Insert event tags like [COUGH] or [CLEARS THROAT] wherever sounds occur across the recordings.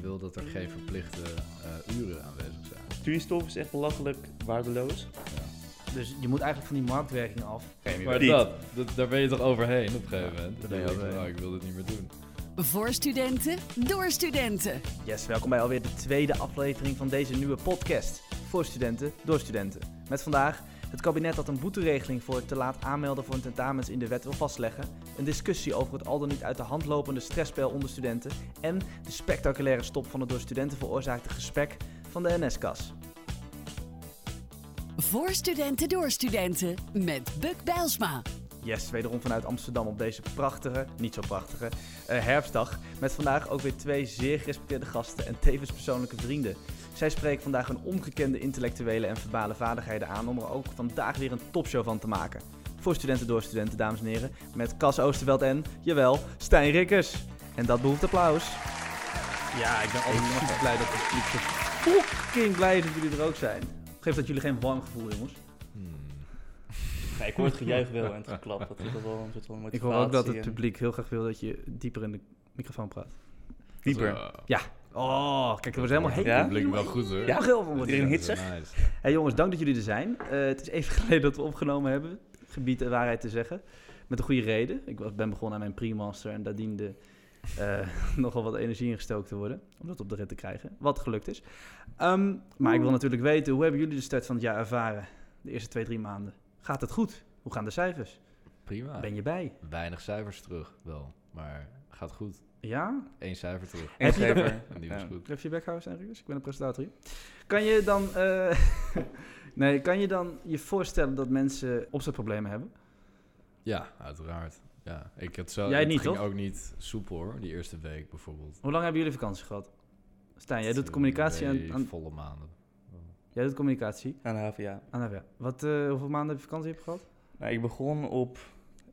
wil dat er geen verplichte eh, uren aanwezig zijn. Stuurstof is echt belachelijk waardeloos. Dus je moet eigenlijk van die marktwerking af. Maar Piet. dat, dat- daar ben je toch overheen op een gegeven moment. Dan daar ben je denk je, overheen. nou, ik wil dit niet meer doen. Voor studenten, door studenten. Yes, welkom bij alweer de tweede aflevering van deze nieuwe podcast. Voor studenten, door studenten. Met vandaag het kabinet dat een boeteregeling voor het te laat aanmelden voor een tentamens in de wet wil vastleggen. Een discussie over het al dan niet uit de hand lopende stressspel onder studenten. En de spectaculaire stop van het door studenten veroorzaakte gesprek van de NS-kas. Voor studenten, door studenten. Met Buk Bijlsma. Yes, wederom vanuit Amsterdam op deze prachtige, niet zo prachtige, eh, herfstdag. Met vandaag ook weer twee zeer gerespecteerde gasten en tevens persoonlijke vrienden. Zij spreken vandaag hun ongekende intellectuele en verbale vaardigheden aan om er ook vandaag weer een topshow van te maken. Voor studenten door studenten, dames en heren, met Cas Oosterveld en, jawel, Stijn Rikkers. En dat behoeft applaus. Ja, ik ben altijd super blij dat het publiek zo fucking blij is dat jullie er ook zijn. Geef dat jullie geen warm gevoel, jongens. Hmm. Ja, ik hoor het gejuich wel en het geklap. Dat is toch wel een soort van Ik hoor ook dat het motivatie en- publiek heel graag wil dat je dieper in de microfoon praat. Dieper. Zo. Oh, kijk, er was helemaal heet. Ja? Het Publiek wel goed hoor. Ja, heel veel Iedereen Hé hit Zo zeg. nice. hey, jongens, dank dat jullie er zijn. Eh, het is even [LAUGHS] geleden dat we opgenomen hebben. Gebied de waarheid te zeggen. Met een goede reden. Ik was, ben begonnen aan mijn pre-master en daar diende eh, [LAUGHS] nogal wat energie in gestookt te worden. Om dat op de rit te krijgen. Wat gelukt is. Ehm, maar ik wil natuurlijk weten, hoe hebben jullie de start van het jaar ervaren? De eerste twee, drie maanden. Gaat het goed? Hoe gaan de cijfers? Prima. Ben je bij? Weinig cijfers terug wel, maar gaat goed. Ja? Eén cijfer terug. Heb je dat- Ingever. En die was Ja. goed. Durf je backhouse en Ik ben een presentator hier. Kan je dan, eh, [LAUGHS] nee, kan je dan je voorstellen dat mensen opzetproblemen hebben? Ja, uiteraard. Ja, ik had zelf, Jij het niet, ging toch? ook niet soepel hoor, die eerste week bijvoorbeeld. Hoe lang hebben jullie vakantie gehad? Stijn, jij doet Twee communicatie aan, aan- volle maanden. jij doet communicatie Aan de HVA. aan HWA. Wat, eh, hoeveel maanden heb je vakantie heb je gehad? Nou, ik begon op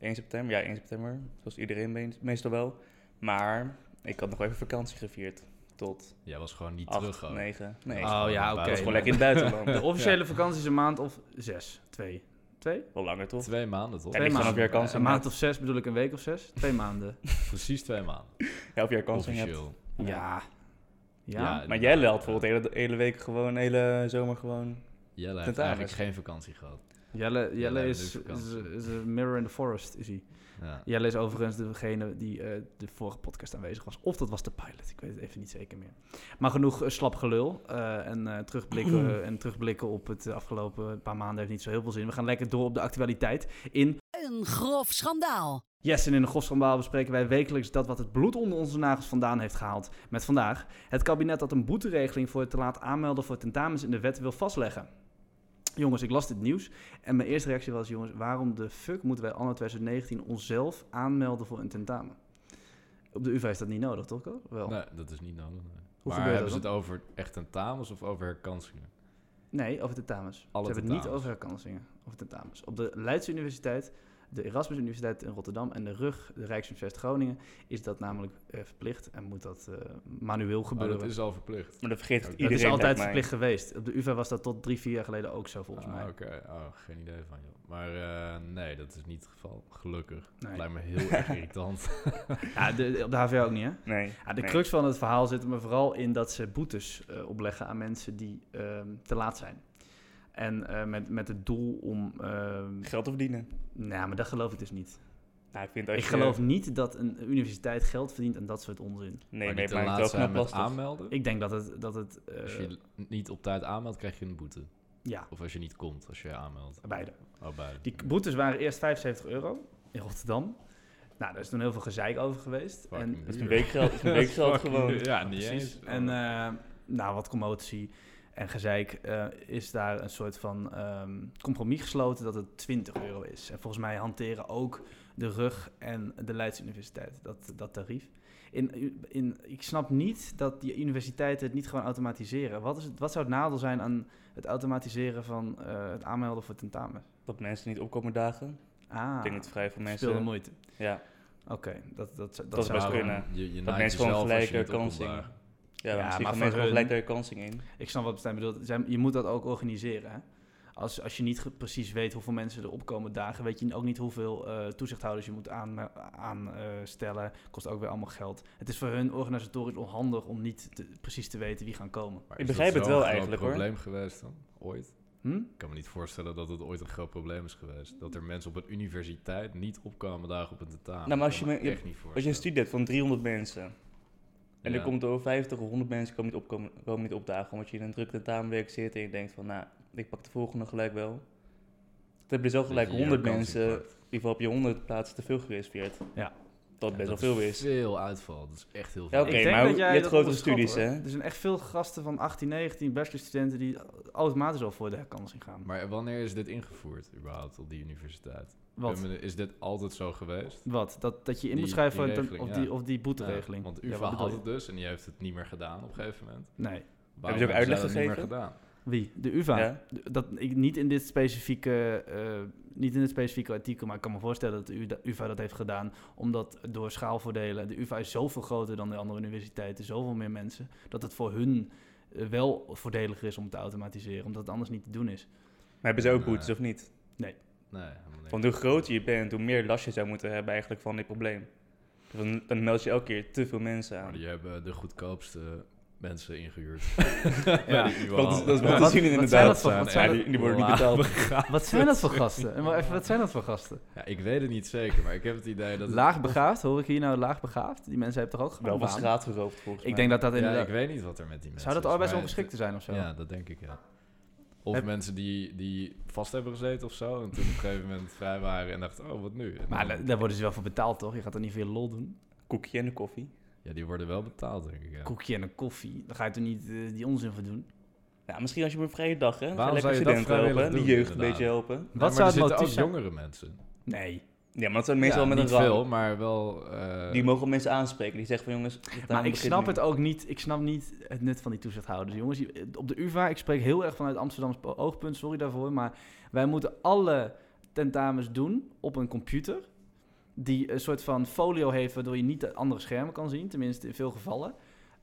1 september. Ja, 1 september. Zoals iedereen meent- meestal wel. Maar ik had nog even vakantie gevierd. Tot Jij was gewoon niet 8, terug ook. 9. Nee, Ah, Oh, ja, dat oké. is gewoon lekker in het buitenland. [LAUGHS] De officiële vakantie is een maand of zes, twee. Twee? Wel langer toch? Twee maanden toch? Ja, Twee ligt maanden. vanaf je Een kansen. maand of zes bedoel ik een week of zes? Twee maanden. Precies twee maanden. Ja, of je er kans in hebt. Officieel. Ja. Ja. Maar jij had inderdaad. bijvoorbeeld de hele, de hele week gewoon, de hele zomer gewoon. Jelle heeft Tentamen. eigenlijk geen vakantie gehad. Jelle, Jelle nee, is, nu is, vakantie. is een mirror in the forest, is hij. Ja. Jelle is overigens degene die eh, de vorige podcast aanwezig was. Of dat was de pilot, ik weet het even niet zeker meer. Maar genoeg eh, slap gelul. eh, en, eh, terugblikken, en terugblikken op het afgelopen paar maanden heeft niet zo heel veel zin. We gaan lekker door op de actualiteit in... Een grof schandaal. Yes, en in de Gofschambaal bespreken wij wekelijks dat wat het bloed onder onze nagels vandaan heeft gehaald. Met vandaag het kabinet dat een boeteregeling voor het te laat aanmelden voor tentamens in de wet wil vastleggen. Jongens, ik las dit nieuws en mijn eerste reactie was, jongens, waarom de fuck moeten wij anno 2019 onszelf aanmelden voor een tentamen? Op de UvA is dat niet nodig, toch? Ko? Wel. Nee. Nee, dat is niet nodig. nee. maar gebeurt dat hebben ze dan? het over echt tentamens of over herkansingen? over tentamens. Alle Ze hebben het niet tentamens. over herkansingen, over tentamens. Op de Leidse Universiteit, de Erasmus Universiteit in Rotterdam en de RUG, de Rijksuniversiteit Groningen, is dat namelijk eh, verplicht en moet dat eh, manueel Maar gebeuren. Oh, dat is al verplicht. Maar dat vergeet Dat is Dat iedereen. is lijkt altijd mij. verplicht geweest. Op de UvA was dat tot drie, vier jaar geleden ook zo, volgens Ah, mij. Oké, oh, geen idee van joh. Maar eh, nee, dat is niet het geval. Gelukkig. Nee. Lijkt me heel [LAUGHS] erg irritant. Ja, de, op de HVA ook niet, hè? Nee. Ja, de nee. crux van het verhaal zit er me vooral in dat ze boetes eh, opleggen aan mensen die ehm, te laat zijn. En eh, met, met het doel om. ehm, Geld te verdienen. nou, maar dat geloof ik dus niet. Nou, ik vind als Ik eh, je- geloof niet dat een universiteit geld verdient aan dat soort onzin. Nee, maar die nee, maar te ik laat geloof zijn knap met lastig. aanmelden. Ik denk dat het. Dat het eh, Als je niet op tijd aanmeldt, krijg je een boete. ja, Of als je niet komt, als je je aanmeldt. beide. Oh, beide. Die boetes waren eerst 75 euro in Rotterdam. Nou, daar is toen heel veel gezeik over geweest. Fucking En duur. Dat is een weekgeld, dat is een weekgeld Fucking gewoon. duur. [LAUGHS] Ja, niet Precies. eens. En eh, nou, wat commotie en gezeik eh, is daar een soort van ehm, compromis gesloten dat het 20 euro is. En volgens mij hanteren ook de RUG en de Leids Universiteit dat, dat tarief. In, in, ik snap niet dat die universiteiten het niet gewoon automatiseren. Wat, is het, wat zou het nadeel zijn aan het automatiseren van eh, het aanmelden voor tentamens? Dat mensen niet opkomen dagen. Ah, ik denk dat vrij veel speelde mensen... moeite. Ja, Oké, dat, dat, dat, Dat is zou Daarom, best kunnen. Je, je dat naait mensen gewoon jezelf als je gelijk niet er kans opkomt in. dagen. Ja, Ja, misschien gaan maar voor mensen hun- gelijk daar kansing in. Ik snap wat Stijn bedoelt. Zij- Je moet dat ook organiseren. Hè? Als, als je niet ge- precies weet hoeveel mensen er opkomen dagen, weet je ook niet hoeveel eh, toezichthouders je moet eh, aanstellen. kost ook weer allemaal geld. Het is voor hun organisatorisch onhandig om niet te- precies te weten wie gaan komen. Maar Ik is begrijp dat het zo'n wel groot eigenlijk, hoor. probleem geweest dan? Ooit? Hm? Ik kan me niet voorstellen dat het ooit een groot probleem is geweest. Dat er mensen op een universiteit niet opkwamen dagen op een tentamen. Nou, maar als Ik kan je me me- je- echt niet Als je een voorstellen. studie hebt van 300 mensen. En Ja. er komt over 50 of 100 mensen komen niet, opkomen, komen niet opdagen. Omdat je in een druk tentamenweek zit en je denkt van, nou, ik pak de volgende gelijk wel. Dan heb je dus wel Dat gelijk je hier 100 een kans mensen, in in pakt. ieder geval op je 100 plaatsen te veel gereserveerd. Ja. Dat Ja, best wel dat veel is. Veel uitval, dat is echt heel Ja, veel. oké, Ik denk maar dat je jij hebt dat grotere onderschat, studies, hoor. hè? Er zijn echt veel gasten van 18, 19 bachelorstudenten die automatisch al voor de herkansing gaan. Maar wanneer is dit ingevoerd überhaupt op die universiteit? Wat? Ben benieuwd, Is dit altijd zo geweest? Wat? Dat, dat je in Die- moet schrijven die ten- regeling, of, ja. die, of die boeteregeling. Ja, want Ja, UvA wat bedoel had je? het dus en die heeft het niet meer gedaan op een gegeven moment. Nee. Waarom ook hebben zij uitleg dat niet meer gegeven? gedaan? Wie? De UvA. Ja. D- Dat, ik, niet, in dit specifieke, eh, niet in dit specifieke artikel, maar ik kan me voorstellen dat de U- de UvA dat heeft gedaan. Omdat door schaalvoordelen, de UvA is zoveel groter dan de andere universiteiten, zoveel meer mensen, dat het voor hun eh, wel voordeliger is om te automatiseren. Omdat het anders niet te doen is. Maar hebben ze ook Nee. boetes of niet? Nee, helemaal niks. Want hoe groter je bent, hoe meer last je zou moeten hebben eigenlijk van dit probleem. Dus dan, dan meld je elke keer te veel mensen Maar aan. Oh, die hebben de goedkoopste mensen ingehuurd. [LAUGHS] Ja, Dat is, dat is wel Wat- te zien wat inderdaad. zijn dat voor- wat Ja, zijn die, dat- die worden niet betaald. [LAUGHS] Wat zijn dat voor gasten? En wel even, wat zijn dat voor gasten? [LAUGHS] Ja, ik weet het niet zeker, maar ik heb het idee dat... het- Laagbegaafd? Hoor ik hier nou laagbegaafd? Die mensen hebben toch ook Wel van gewoon baan? straat geroofd volgens Ik mij. denk dat dat Ja, inderdaad... ik weet niet wat er met die mensen Zou dat is, maar arbeidsongeschikte zijn of zo? het- Ja, dat denk ik, ja. Of Heb- mensen die, die vast hebben gezeten of zo, en toen op een gegeven moment vrij waren en dachten, oh, wat nu? En Maar dan- da- daar worden ze wel voor betaald, toch? Je gaat er niet veel lol doen. Koekje en de koffie. Ja, die worden wel betaald, denk ik, ja. Koekje en een koffie. Daar ga je toch niet eh, die onzin voor doen? Ja, Nou, misschien als je op een vrije dag, hè? Waarom Waarom zou lekker je dat studenten vrijwillig helpen, die doen, jeugd een inderdaad? beetje helpen. Nee, Wat maar zou er het zitten ook motief zijn? jongere mensen. Nee. Ja, maar dat zijn meestal Ja, met een niet rang. veel, maar wel... eh, Die mogen mensen aanspreken. Die zeggen van jongens, het Maar aan ik begint snap nu. het ook niet. Ik snap niet het nut van die toezichthouders. Jongens, Je- op de UvA, ik spreek heel erg vanuit Amsterdams oogpunt, sorry daarvoor. Maar wij moeten alle tentamens doen op een computer. Die een soort van folio heeft waardoor je niet de andere schermen kan zien. Tenminste, in veel gevallen.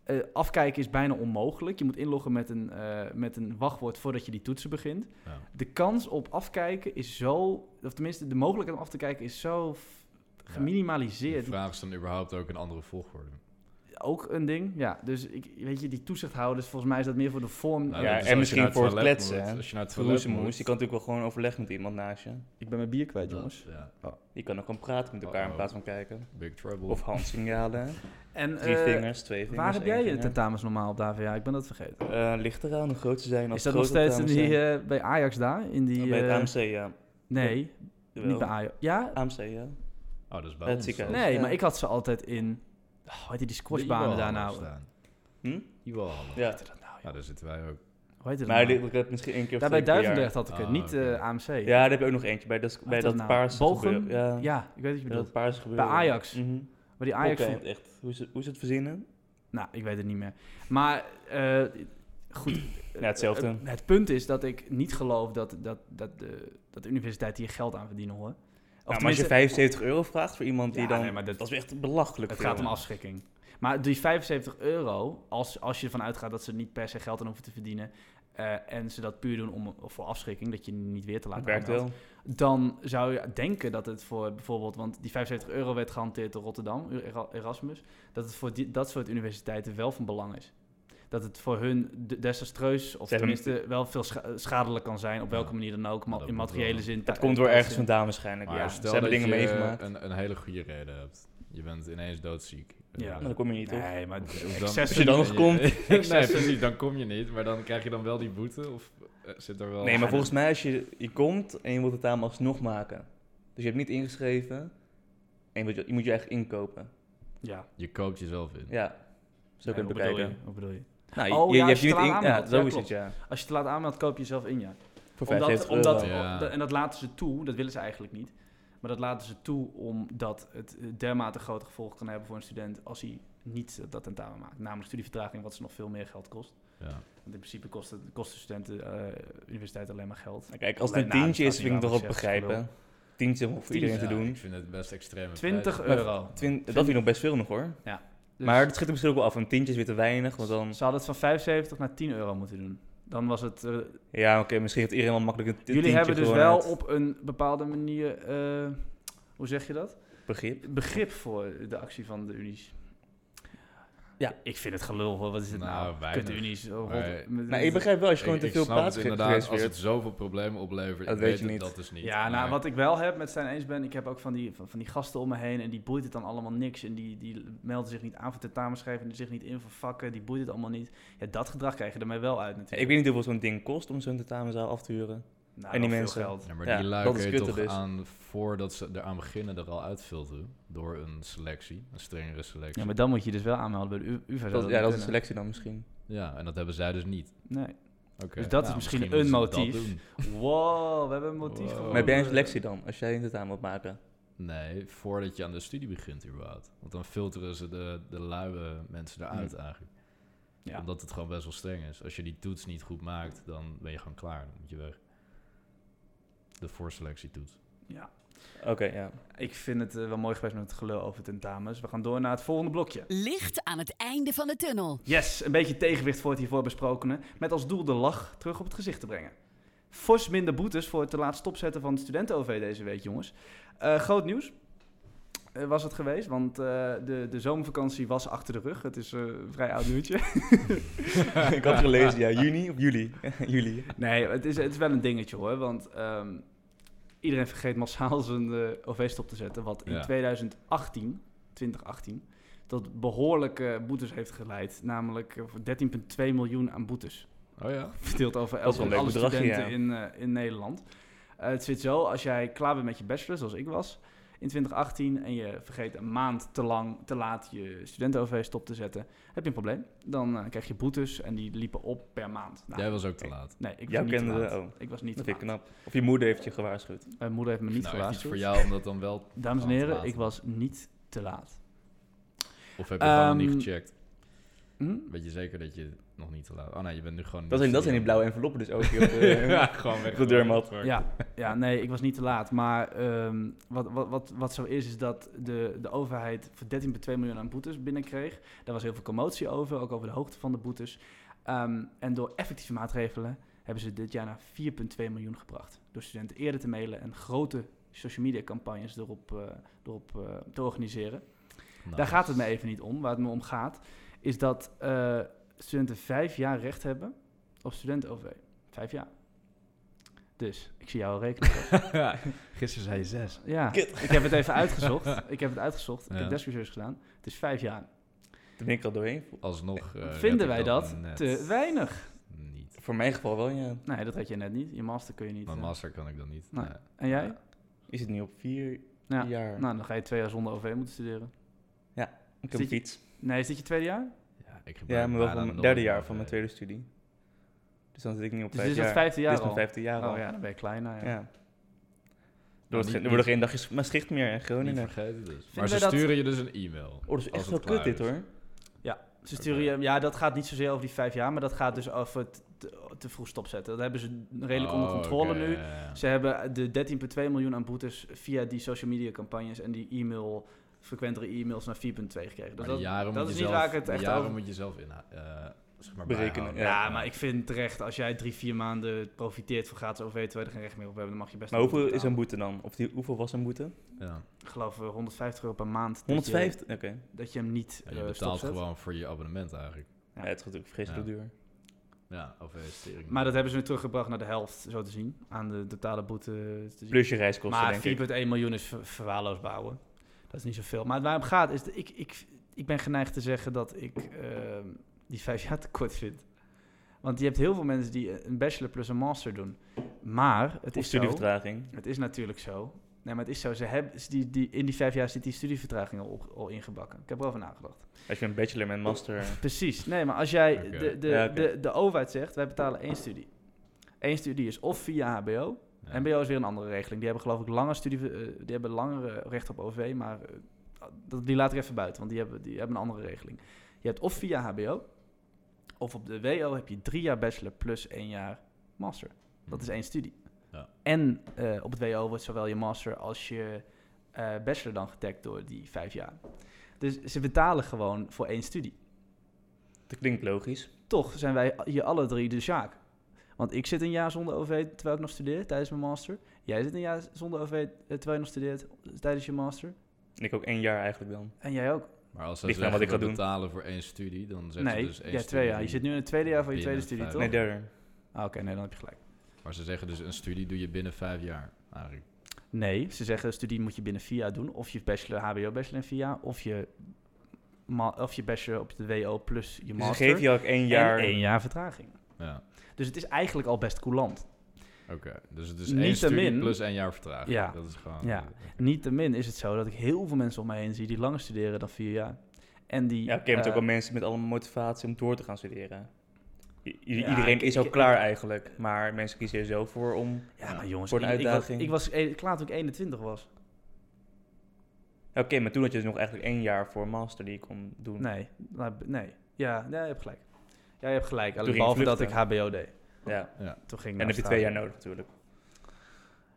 Eh, afkijken is bijna onmogelijk. Je moet inloggen met een, eh, met een wachtwoord voordat je die toetsen begint. Ja. De kans op afkijken is zo... Of tenminste, de mogelijkheid om af te kijken is zo f- Ja. geminimaliseerd. De vraag is dan überhaupt ook een andere volgorde. Ook een ding, ja. Dus ik, weet je, die toezichthouders, volgens mij is dat meer voor de vorm. Nou, Ja, dat is en als je misschien naar voor het toilet kletsen, moet, hè. Als je naar het toilet moet, Verloezemoes, je kan natuurlijk wel gewoon overleg met iemand naast je. Ik ben mijn bier kwijt, dat- eh, jongens. ja, Je kan ook gewoon praten met elkaar in Uh-oh. plaats van kijken. big trouble. Of handsignalen. En Drie Oh. [LAUGHS] eh, vingers, twee vingers. waar heb jij één je vinger. tentamens normaal op Davia? ik ben dat vergeten. Eh, ligt eraan hoe groot ze zijn. Is Als dat nog grote steeds in dames die, zijn. eh, bij Ajax daar? In die, Bij het eh, AMC, ja. nee, niet bij Jawel. Ajax. Ja? AMC, ja. oh, dat is bij Het ons ziekenhuis. zelfs. Nee, Ja. maar ik had ze altijd in... Oh, heet die, die squashbanen daar nou? Hoe staan. Hm? Iwohallen. Ja. heette dat nou? joh? Nou, daar zitten wij ook. Hoe heette dat Maar nou? dit, ik heb misschien één keer of Daar bij twee keer per Duivendrecht had ik het, Ah, niet eh, oké. AMC. jaar. Ja, daar heb ik ook nog eentje. Bij dat, bij heet dat, nou? paars Bochum? gebeuren. Ja, Ja, ik weet wat je bij bedoelt. dat paars gebeuren. Ajax. Mhm. Maar die Ajax... Oké, echt. Hoe is het, hoe is het verzinnen? Nou, ik weet het niet meer. Maar eh, goed. eh, hetzelfde. eh, het punt is dat ik niet geloof dat, dat, dat, de, dat de universiteit hier geld aan verdienen hoor. Of Nou, maar als tenminste, je 75 euro vraagt voor iemand die Ja, dan... nee, maar dat- dat is echt belachelijk. het veel. gaat om afschrikking. Maar die 75 euro, als, als je ervan uitgaat dat ze niet per se geld aan hoeven te verdienen. eh, en ze dat puur doen om, voor afschrikking, dat je niet weer te Het laten werkt aanmelden. wel. dan zou je denken dat het voor bijvoorbeeld, want die 75 euro werd gehanteerd door Rotterdam, Era- Erasmus, dat het voor die, dat soort universiteiten wel van belang is. Dat het voor hun de- desastreus, of Ze hebben- tenminste wel veel scha- eh, schadelijk kan zijn, op Ja. welke manier dan ook, maar dat in moet materiële wel. zin. Dat ta- komt door thuis ergens in. vandaan waarschijnlijk. Maar ja, ze stel dat hebben dingen je meegemaakt. Een, een hele goede reden hebt. Je bent ineens doodziek. Ja. Eh, [LAUGHS] Maar Nou, dan kom je niet op. Nee, maar dan- excessen- Als je dan nog komt. nee, [LAUGHS] precies, dan kom je niet. Maar dan krijg je dan wel die boete? Of eh, zit er wel... Nee, maar volgens mij als je, je komt en je wilt het taal alsnog maken. Dus je hebt niet ingeschreven en je moet je, je moet je echt inkopen. Ja, Je koopt jezelf in. Ja, zo Nee, kun je wat het bedoel je? bekijken. Wat bedoel je? Nou, je, Oh, je- ja, je hebt als je je niet het in... eraan Ja, aanmeldt. zo Ja, is klopt. het, ja. Als je te laat aanmeldt, koop je jezelf in, ja. Voor Omdat, 75 omdat, euro. Ja. En dat laten ze toe, dat willen ze eigenlijk niet. Maar dat laten ze toe omdat het eh, dermate grote gevolgen kan hebben voor een student als hij niet eh, dat tentamen maakt. Namelijk studievertraging, wat ze nog veel meer geld kost. Ja. Want in principe kost, het, kost de studenten eh, universiteit alleen maar geld. Kijk, als het Alleen, een nou, tientje dat is, is vind ik niet het nog wel waar, dat is echt begrijpen. Tientje om voor iedereen te Ja, doen. Ik vind het best extreem. 20 euro. Twin- dat vind Dus- ik nog best veel nog hoor. Dus Maar dat schiet er misschien ook wel af. Een tientje is weer te weinig, want dan... Ze hadden het van 75 naar 10 euro moeten doen. Dan was het... eh, Ja, oké, misschien heeft iedereen wel makkelijk een t- jullie tientje hebben dus gewoon wel uit op een bepaalde manier... eh, hoe zeg je dat? begrip. Begrip voor de actie van de unies. Ja. ik vind het gelul. hoor. Wat is het Nou, nou? weinig. Kut unies. oh, Maar- rot- met- Nou, ik begrijp wel, als je Ik- gewoon te ik veel snap het plaats geeft inderdaad, geweest Als werd. het zoveel problemen oplevert, Dat ik weet weet je het, niet. dat is niet. Ja, nou, Maar wat ik wel heb met zijn eens ben, ik heb ook van die, van, van die gasten om me heen en die boeit het dan allemaal niks. En die, die melden zich niet aan voor tentamenschrijven, die zich niet in voor vakken, die boeit het allemaal niet. Ja, dat gedrag krijg je er mij wel uit natuurlijk. Ik weet niet hoeveel zo'n ding kost om zo'n tentamenzaal af te huren. Nou, en die wel veel mensen. Geld. Ja, maar Ja, die dat lui is kun je kutte toch dus. aan, voordat ze eraan beginnen, er al uitfilteren. Door een selectie, een strengere selectie. Ja, Ja, maar dan moet je dus wel aanmelden bij de U- UvA. zou Dat, ja, niet dat is een kunnen. selectie dan misschien. en dat hebben zij dus niet. Nee. Oké. Dus dat is Nou, misschien moeten een ze dat motief. doen. Wow, we hebben een motief Wow. gevonden. maar heb jij een selectie dan, als jij een tentamen wilt maken? Nee, voordat je aan de studie begint überhaupt. Want dan filteren ze de, de luie mensen eruit Hm. eigenlijk. Ja. Omdat het gewoon best wel streng is. Als je die toets niet goed maakt, dan ben je gewoon klaar. Dan moet je weg. De voorselectietoets. Ja. Oké, [LAUGHS] ja. Ik vind het eh, wel mooi geweest met het gelul over tentamens. We gaan door naar het volgende blokje. Licht aan het einde van de tunnel. Yes, een beetje tegenwicht voor het hiervoor besprokene. Met als doel de lach terug op het gezicht te brengen. Fors minder boetes voor het te laat stopzetten van het studenten-OV deze week, jongens. Eh, groot nieuws eh, was het geweest, want eh, de, de zomervakantie was achter de rug. Het is eh, een vrij oud nieuwtje. [LAUGHS] ik had gelezen, ja, juni of juli? [LAUGHS] juli. Nee, het is, het is wel een dingetje hoor. Want ehm, iedereen vergeet massaal zijn eh, OV-stop te zetten. Wat in Ja. 2018, 2018, tot behoorlijke boetes heeft geleid. Namelijk eh, voor 13,2 miljoen aan boetes. Oh ja? Verdeeld over Dat is wel een elke- alle leuk bedragje, studenten ja. in, eh, in Nederland. Eh, het zit zo, als jij klaar bent met je bachelor, zoals ik was... In 2018 en je vergeet een maand te lang, te laat je studenten-OV stop te zetten, heb je een probleem. Dan eh, krijg je boetes en die liepen op per maand. Nou, Jij was ook te laat. Nee, ik was Jouw niet te kinderen, laat. oh. Ik was niet Dat te vind ik laat. knap. Of je moeder heeft je gewaarschuwd. Mijn moeder heeft me niet nou, echt iets gewaarschuwd. voor jou om dat dan wel... Dames en Gewoon te heren, laat. ik was niet te laat. Of heb je gewoon Ehm, niet gecheckt? Hm? Weet je zeker dat je nog niet te laat... Oh nee, je bent nu gewoon... Dat zijn, dat zijn die blauwe enveloppen dus ook. [LAUGHS] Heel, [LAUGHS] ja, gewoon weg. op de deurmat. Ja, ja, nee, ik was niet te laat. Maar ehm, wat, wat, wat, wat zo is, is dat de, de overheid voor 13,2 miljoen aan boetes binnenkreeg. Daar was heel veel commotie over, ook over de hoogte van de boetes. Ehm, en door effectieve maatregelen hebben ze dit jaar naar 4,2 miljoen gebracht. Door studenten eerder te mailen en grote social media campagnes erop, eh, erop eh, te organiseren. Nou. Daar [LAUGHS] gaat het me even niet om. Waar het me om gaat, is dat eh, studenten vijf jaar recht hebben op studenten-OV. Vijf jaar. Dus, ik zie jou al [LAUGHS] rekenen. Gisteren zei je zes. ja, ik heb het even uitgezocht. Ik heb het uitgezocht. Ik Ja. heb deskresearch gedaan. Het is vijf jaar. Toen ben ik er al doorheen. Alsnog eh, red Vinden ik wij dat net te weinig? Niet. Voor mijn geval wel, ja. Nee, dat had je net niet. Je master kun je niet. Mijn eh. master kan ik dan niet. Nee. Nee. En jij? Is het nu op vier Ja. jaar? Nou, dan ga je twee jaar zonder OV moeten studeren. ik zit heb een je- fiets. Nee, is dit je tweede jaar? Ja, ik gebruik Ja, maar wel bijna van mijn nooit derde een eh, jaar OV. van mijn tweede studie. Dus dan zit ik niet op Dus vijf dit is jaar. het vijfde jaar Dit is mijn al? vijfde jaar al. Oh ja, dan ben je kleiner. Ja. Ja. Nou, Er wordt niet- geen- er niet- worden geen dagjes Maastricht meer en Niet Groningen. vergeten dus. wij Maar ze dat- sturen je dus een e-mail. Oh, dat is als het echt wel kut klaar dit is. hoor. Ze sturen je, ja, dat gaat niet zozeer over die vijf jaar, maar dat gaat dus over het te, te vroeg stopzetten. Dat hebben ze redelijk onder Oh, controle oké, nu. ja, ja, ja. Ze hebben de 13,2 miljoen aan boetes via die social media campagnes en die e-mail, frequentere e-mails naar 4,2 gekregen. Dus Maar dat, die jaren dat moet is je niet zelf- waar ik het die echt jaren over- moet je zelf in, eh, zeg maar Berekenen, bijhouden. ja. ja, maar ik vind terecht, als jij drie, vier maanden profiteert van gratis OV terwijl je er geen recht meer op hebt, dan mag je best Maar een hoeveel is een betalen. boete dan? Of die, hoeveel was een boete? Ja. Ik geloof eh, 150 euro per maand. eh, dat je- 150? Oké. Dat je, hem niet Ja, eh je betaalt stopzet. gewoon voor je abonnement eigenlijk. Ja, het is natuurlijk vreselijk Ja. duur. Ja, of eh, stering. Maar dat hebben ze nu teruggebracht naar de helft, zo te zien, aan de totale boete te zien. Plus je reiskosten, Maar denk ik. 4,1 miljoen is ver- verwaarloosbaar hoor. Dat is niet zoveel. Maar waar het om gaat is, dat ik, ik, ik ben geneigd te zeggen dat ik ehm, die vijf jaar tekort vind. Want je hebt heel veel mensen die een bachelor plus een master doen. Maar het Of is zo, studievertraging. het is natuurlijk zo. Nee, maar het is zo. Ze hebben, ze- die, die, in die vijf jaar zit die studievertraging al, op, al ingebakken. Ik heb erover nagedacht. Als je een bachelor met master... Precies. Nee, maar als jij Oké. de, de, Ja, oké. de, de overheid zegt, wij betalen één studie. Eén studie is of via HBO, Ja. MBO is weer een andere regeling. Die hebben geloof ik lange studie, eh, die hebben langere recht op OV, maar eh, dat, die laat ik even buiten, want die hebben, die hebben een andere regeling. Je hebt of via HBO, of op de WO heb je drie jaar bachelor plus één jaar master. Dat is één studie. Mhm. Ja. En eh, op het WO wordt zowel je master als je eh, bachelor dan getagd door die vijf jaar. Dus ze betalen gewoon voor één studie. Dat klinkt logisch. Toch zijn wij hier alle drie de Sjaak. Want ik zit een jaar zonder OV terwijl ik nog studeer, tijdens mijn master. Jij zit een jaar zonder OV eh, terwijl je nog studeert, tijdens je master. Ik ook één jaar eigenlijk dan. En jij ook. Maar als ze Ligt aan wat zeggen ik we ga doen. betalen voor één studie, dan zeggen nee, ze dus één jij twee studie. jaar. Je zit nu in het tweede jaar van je binnen tweede studie, vijf- toch? Nee, derde. Dus Ah, Oké, nee, dan heb je gelijk. Maar ze zeggen dus een studie doe je binnen vijf jaar. Eigenlijk. Nee, ze zeggen studie moet je binnen vier jaar doen. Of je bachelor, HBO bachelor in vier jaar. Of je, ma- of je bachelor op de WO plus je Dus ze master. geven je ook één jaar. En één jaar vertraging. Ja, Dus het is eigenlijk al best coulant. oké. Dus het is Niet één te studie min. plus één jaar vertraging. Ja. Dat is gewoon... Ja. Niettemin is het zo dat ik heel veel mensen om mij heen zie die langer studeren dan vier jaar. En die... Ja, oké, maar het eh, ook wel mensen met allemaal motivatie om door te gaan studeren. I- i- Ja, iedereen ik- is al ik- klaar eigenlijk, maar mensen kiezen er zo voor om... ja, maar jongens, voor een ik- ik was- uitdaging. Ik was, e- klaar toen ik 21 was. Oké, maar toen had je dus nog eigenlijk één jaar voor een master die je kon doen. Nee, nou, b- nee. Ja, nee, je hebt gelijk. Ja, je hebt gelijk. Alleen ging behalve je dat ik vluchten. HBO deed. Ja. Toen ging En ik naar dan heb je twee Australië. jaar nodig natuurlijk.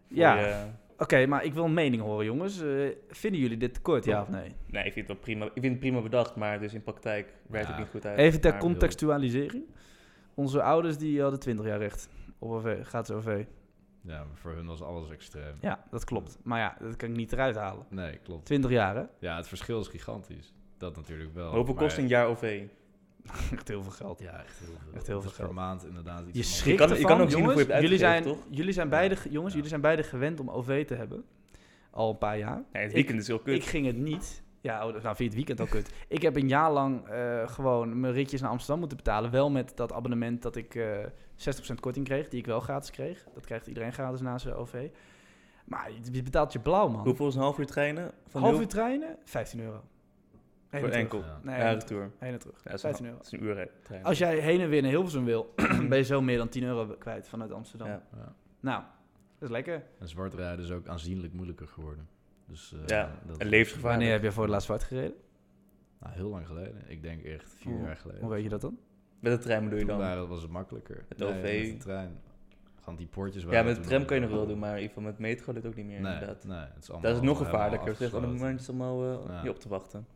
Voor Ja, je- oké, maar ik wil een mening horen, jongens. Eh, vinden jullie dit tekort, Oh. ja of nee? nee, ik vind het wel prima. Ik vind het prima bedacht, maar dus in praktijk werkt Ja. het niet goed uit. Even ter Maar- contextualisering. Onze ouders die hadden 20 jaar recht op OV, gaat OV. Ja, maar voor hun was alles extreem. Ja, dat klopt. Maar ja, dat kan ik niet eruit halen. Nee, klopt. 20 jaar, hè? [LAUGHS] Ja, het verschil is gigantisch. Dat natuurlijk wel. Hoeveel maar- kost een jaar OV? Echt heel veel geld. Ja, echt heel veel. Echt heel Het is veel per geld. maand inderdaad iets Je van- schrikt kan- je ervan, kan ook zien jongens. hoe je het jullie zijn, uitgegeven, jullie zijn beide, ge- jongens, Ja. jullie zijn beide gewend om OV te hebben. Al een paar jaar. Nee, het Ik- weekend is heel kut. Ik ging het niet. Ja, oh, nou vind je het weekend al kut. [LAUGHS] Ik heb een jaar lang eh, gewoon mijn ritjes naar Amsterdam moeten betalen. Wel met dat abonnement dat ik eh 60% korting kreeg, die ik wel gratis kreeg. Dat krijgt iedereen gratis na zijn OV. Maar je- je betaalt je blauw, man. Hoeveel is een half uur trainen? Van Half nul uur treinen, 15 euro. Heen voor en terug. enkel. Ja. Nee, Ja, heen en terug. retour. Heen en terug. Ja, dat is een 15 euro. Dat is een uur hè, trainen. Als jij heen en weer naar Hilversum wil, [CLEARS THROAT] ben je zo meer dan 10 euro kwijt vanuit Amsterdam. Ja. Ja. Nou, dat is lekker. En zwart rijden is ook aanzienlijk moeilijker geworden. Dus, eh, Ja, dat en is- levensgevaarlijk. Wanneer heb je voor het laatst zwart gereden? Nou, heel lang geleden. Ik denk echt vier Oh, jaar geleden. Hoe weet je dat dan? Met de trein bedoel je Toen dan? waren- was het makkelijker. Met Nee, OV. met de trein. Gewoon die poortjes ja, waren met de toen tram kun je nog wel doen, maar in ieder geval met metro dat ook niet meer Nee, inderdaad. nee, het is allemaal Dat is nog helemaal gevaarlijker. Het is echt aan het afgesloten. moment allemaal eh, Ja. je op te wachten.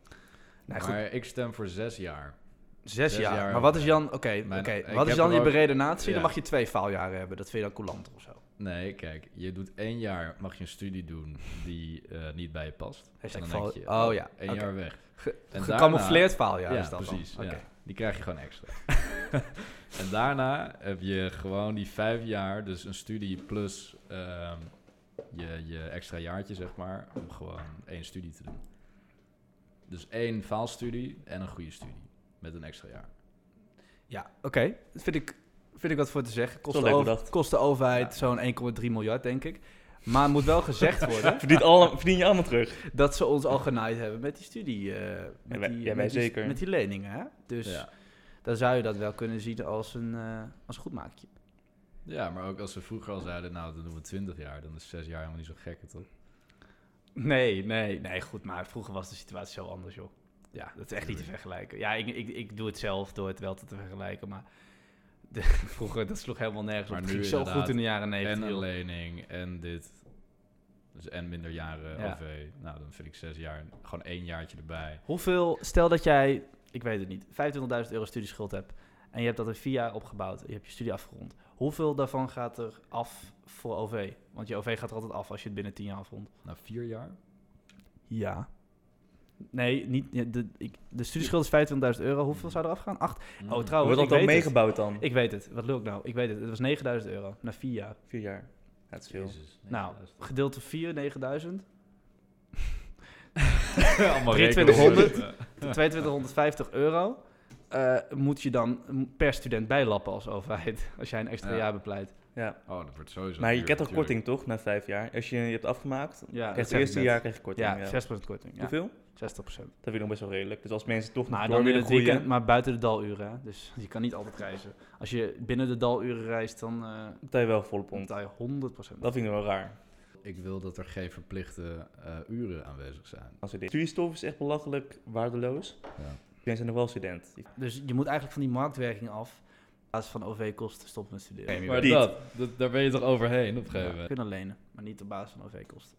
Nou, goed, Maar ik stem voor zes jaar. Zes, Zes jaar. jaar. Maar wat is Jan... Oké, oké. Mijn- ik wat is heb Jan er je ook- bereden natie? ja. Dan mag je twee faaljaren hebben. Dat vind je dan coulant of zo. Nee, kijk, je doet één jaar, mag je een studie doen die eh, niet bij je past. Hashtag dan faal- denk je, oh ja, Eén oké. jaar weg. Ge- En Gecamoufleerd faaljaar ja, is dat precies. dan. ja. Oké. Die krijg je gewoon [LAUGHS] extra. en daarna heb je gewoon die vijf jaar, dus een studie plus ehm, je, je extra jaartje, zeg maar, om gewoon één studie te doen. Dus één faalstudie en een goede studie met een extra jaar. Ja, oké. Dat vind ik, vind ik wat voor te zeggen. Kost, Zo de, leuk over- bedacht. kost de overheid zo'n 1,3 miljard, denk ik. Maar moet wel [LAUGHS] gezegd worden Verdien, alle, verdien je allemaal terug. dat ze ons al genaaid hebben met die studie. eh, met wij- die, ja, wij met die- zeker. Met die leningen, hè? Dus Ja. dan zou je dat wel kunnen zien als een, eh, als een goedmaakje. ja, maar ook als ze vroeger al zeiden, nou, dan doen we twintig jaar, dan is zes jaar helemaal niet zo gek, toch? Nee, nee, nee, goed. Maar vroeger was de situatie zo anders, joh. Ja, dat is echt niet te vergelijken. Ja, ik, ik, ik doe het zelf door het wel te vergelijken, maar [LAUGHS] de, vroeger, dat sloeg helemaal nergens Maar op. Het nu ging zo goed inderdaad. in de jaren en negentig. een joh. lening en dit. Dus en minder jaren Ja. OV. Nou, dan vind ik zes jaar, gewoon één jaartje erbij. Hoeveel, stel dat jij, ik weet het niet, 25.000 euro studieschuld hebt en je hebt dat in vier jaar opgebouwd, je hebt je studie afgerond. Hoeveel daarvan gaat er af voor OV? Want je OV gaat er altijd af als je het binnen tien jaar afrondt. Nou, vier jaar? Ja. Nee, niet, de, ik- de studieschuld is 25.000 euro. Hoeveel zou er afgaan? Acht. Oh, Mm. trouwens, Wordt ik dat dan weet het. meegebouwd dan? Ik weet het. Wat lul ik nou? Ik weet het. Het was 9000 euro na vier jaar. Vier jaar. Ja, dat is veel. Jezus, Nou, 9000. gedeeld door 4, 9000. [LAUGHS] Allemaal 2300. rekenen. 2250 euro eh, moet je dan per student bijlappen als overheid. [LAUGHS] Als jij een extra Ja. jaar bepleit. Ja. Oh, dat wordt sowieso. Maar je duur, krijgt toch natuurlijk. korting toch na vijf jaar? Als je je hebt afgemaakt, Ja, krijg je het eerste jaar krijg je korting. Ja, Ja, 6% korting. Ja, Hoeveel? 60%. Dat vind ik nog best wel redelijk. Dus als mensen toch nog Maar door dan in willen het groeien... weekend, maar buiten de daluren. Hè? Dus je kan niet altijd reizen. Als je binnen de daluren reist, dan eh betaal je wel volle pond. betaal je 100%. Dat vind ik nog wel raar. Ik wil dat er geen verplichte eh, uren aanwezig zijn. Als dit... Studiestof is echt belachelijk waardeloos. Ja. Iedereen zijn nog wel student. Dus je moet eigenlijk van die marktwerking af. In plaats van OV-kosten stoppen met studeren. je Maar weet dat, dat- daar ben je toch overheen op een gegeven Ja, moment. kunnen lenen, maar niet op basis van OV-kosten.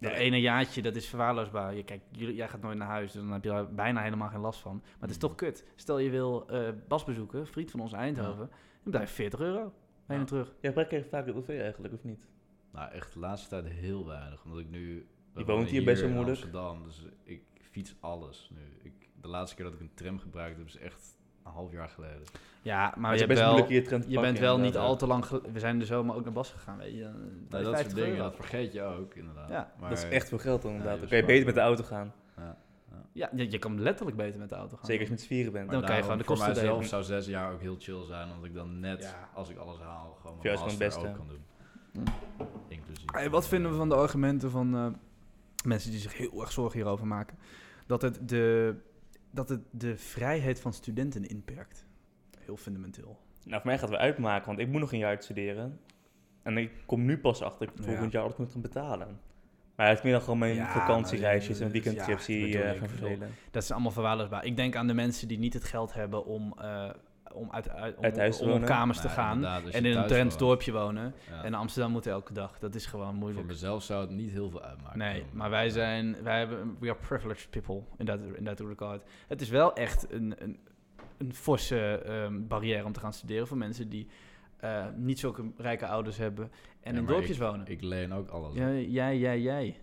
Dat Nee. ene jaartje, dat is verwaarloosbaar. Je, kijk, jullie, jij gaat nooit naar huis, dus dan heb je daar bijna helemaal geen last van. Maar het is toch kut. Stel je wil eh, Bas bezoeken, vriend van ons in Eindhoven, dan betaal je 40 euro. Heen en terug. Jij gebruikt echt vaak het OV eigenlijk, of niet? Nou, echt de laatste tijd heel weinig. Omdat ik nu... we Je woont wonen hier best wel in moeilijk. Amsterdam, dus ik fiets alles nu. Ik, de laatste keer dat ik een tram gebruikt heb, is echt een half jaar geleden. Ja, maar het is je, bent best wel, moeilijk hier trend te je pakken, bent wel niet inderdaad. al te lang... gel- We zijn de zomer ook naar Bas gegaan, weet je. dan- Nou, dat soort 50 dingen, euro. dat vergeet je ook, inderdaad. Ja, maar, Dat is echt veel geld dan, Ja, inderdaad. je Dan kan je bespaart beter met de auto gaan. Ja, je, je kan letterlijk beter met de auto gaan. Zeker als je met z'n vieren bent. maar dan kan je gewoon de daarom kosten Voor mijzelf delen. zou zes jaar ook heel chill zijn, omdat ik dan net, Ja. als ik alles haal, gewoon Voor jou mijn is gewoon het master ook beste. kan doen. Inclusief. Hey, wat vinden we van de argumenten van eh, mensen die zich heel erg zorgen hierover maken? Dat het de, dat het de vrijheid van studenten inperkt. Heel fundamenteel. Nou, voor mij gaat het wel uitmaken, want ik moet nog een jaar studeren. En ik kom nu pas achter dat ik Ja. volgend jaar alles moet gaan betalen. Maar het is meer dan gewoon mijn Ja, vakantiereisjes nou, en weekendtrips ja, dat die bedoel eh ik. gaan vervelen. Dat is allemaal verwaarloosbaar. Ik denk aan de mensen die niet het geld hebben om, eh, om, uit, uit- om, Uit huis te om op wonen. kamers te Nou, gaan. inderdaad, als En je in een thuis Drents woont. dorpje wonen. Ja. En naar Amsterdam moeten elke dag. Dat is gewoon Voor moeilijk. mezelf zou het niet heel veel uitmaken. Nee, om- maar wij ja. zijn, wij hebben, we are privileged people in dat, in dat regard. Het is wel echt een, een, een forse ehm, barrière om te gaan studeren voor mensen die eh, niet zulke rijke ouders hebben en Ja, in maar dorpjes wonen. Ik leen ook alles. ja, op. jij, jij, jij.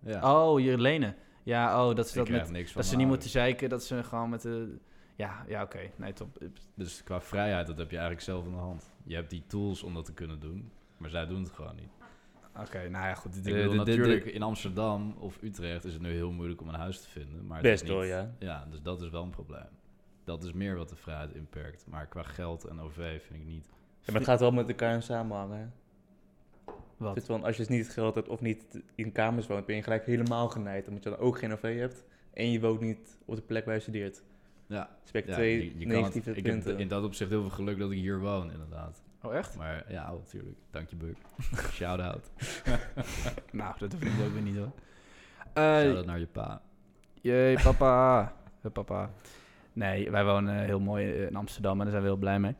Ja. Oh, je lenen. Ja, oh, dat Ik ze, dat krijg met, niks van eh, dat ze mijn niet ouders. moeten zeiken, dat ze gewoon met de... Ja, ja oké. Nee, top. Dus qua vrijheid, dat heb je eigenlijk zelf in de hand. Je hebt die tools om dat te kunnen doen, maar zij doen het gewoon niet. Oké, nou ja, goed. Dit- ik bedoel, dit- dit- dit- natuurlijk, in Amsterdam of Utrecht is het nu heel moeilijk om een huis te vinden. Maar het Best is niet, wel, ja. Ja, dus dat is wel een probleem. Dat is meer wat de vrijheid inperkt. Maar qua geld en OV vind ik niet. Ja, maar het gaat wel met elkaar in samenhangen. hè. Wat? Het is wel- als je dus niet het geld hebt of niet in kamers woont, ben je gelijk helemaal geneid. Omdat je dan ook geen OV hebt en je woont niet op de plek waar je studeert. Ja, Spek ja, twee je- je kan het- negatieve ik heb punten. in dat opzicht heel veel geluk dat ik hier woon, inderdaad. Oh, echt? Maar ja, natuurlijk. Dank je, Buk. Shout-out. Nou, dat hoef ik ook weer niet [LAUGHS] hoor. Eh, Shout-out naar je pa. [LAUGHS] Jee, papa. Eh, papa. Nee, wij wonen heel mooi eh, in Amsterdam en daar zijn we heel blij mee.